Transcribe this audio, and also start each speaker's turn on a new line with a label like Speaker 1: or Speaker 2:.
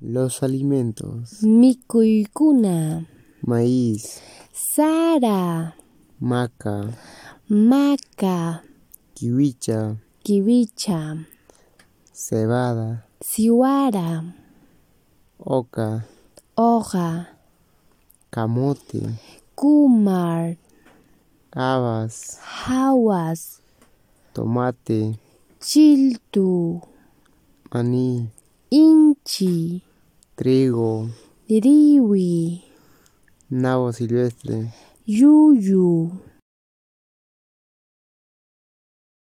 Speaker 1: Los alimentos.
Speaker 2: Mikuikuna.
Speaker 1: Maíz,
Speaker 2: Sara.
Speaker 1: maca,
Speaker 2: Maca.
Speaker 1: kiwicha,
Speaker 2: Kiwicha.
Speaker 1: cebada,
Speaker 2: Siwara.
Speaker 1: oca,
Speaker 2: Hoja.
Speaker 1: camote,
Speaker 2: Kumar.
Speaker 1: habas,
Speaker 2: Hawas.
Speaker 1: tomate,
Speaker 2: Chiltu.
Speaker 1: maní,
Speaker 2: Inchi.
Speaker 1: trigo,
Speaker 2: Riwi.
Speaker 1: nabo silvestre,
Speaker 2: Yuyu.